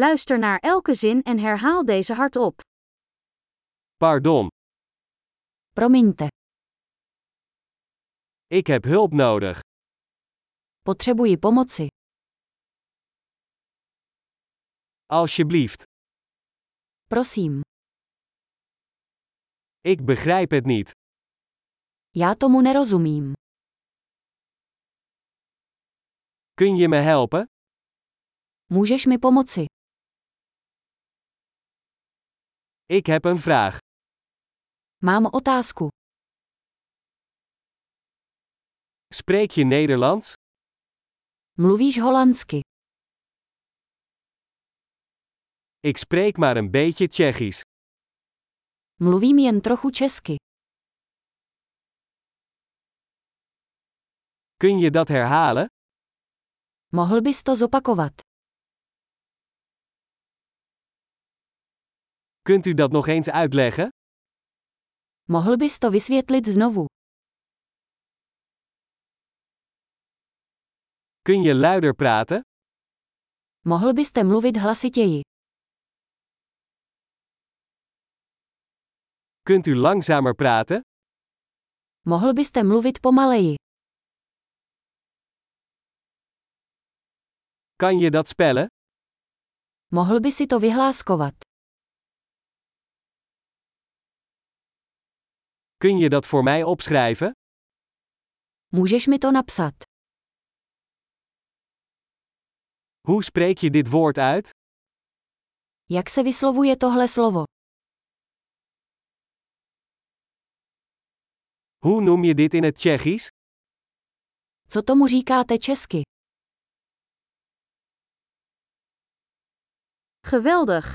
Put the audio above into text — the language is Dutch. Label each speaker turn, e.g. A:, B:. A: Luister naar elke zin en herhaal deze hardop.
B: Pardon,
C: Promiňte,
B: ik heb hulp nodig.
C: potřebuji pomoci.
B: Alsjeblieft,
C: Prosím,
B: ik begrijp het niet.
C: já tomu nerozumím.
B: Kun je me helpen?
C: Můžeš mi pomoci?
B: Ik heb een vraag.
C: Mám otázku.
B: Spreek je Nederlands?
C: Mluvíš holandsky?
B: Ik spreek maar een beetje Tsjechisch.
C: Mluvím jen trochu česky.
B: Kun je dat herhalen?
C: Mohl bys to zopakovat?
B: Kunt u dat nog eens uitleggen?
C: Mohl bys to vysvětlit znovu?
B: Kun je luider praten?
C: Mohl byste mluvit hlasitěji?
B: Kunt u langzamer praten?
C: Mohl byste mluvit pomaleji?
B: Kan je dat spellen?
C: Mohl by si to vyhláskovat?
B: Kun je dat voor mij opschrijven?
C: Můžeš mi to napsat?
B: Hoe spreek je dit woord uit?
C: Jak se vyslovuje tohle slovo?
B: Hoe noem je dit in het Tsjechisch?
C: Co tomu říkáte česky?
A: Geweldig!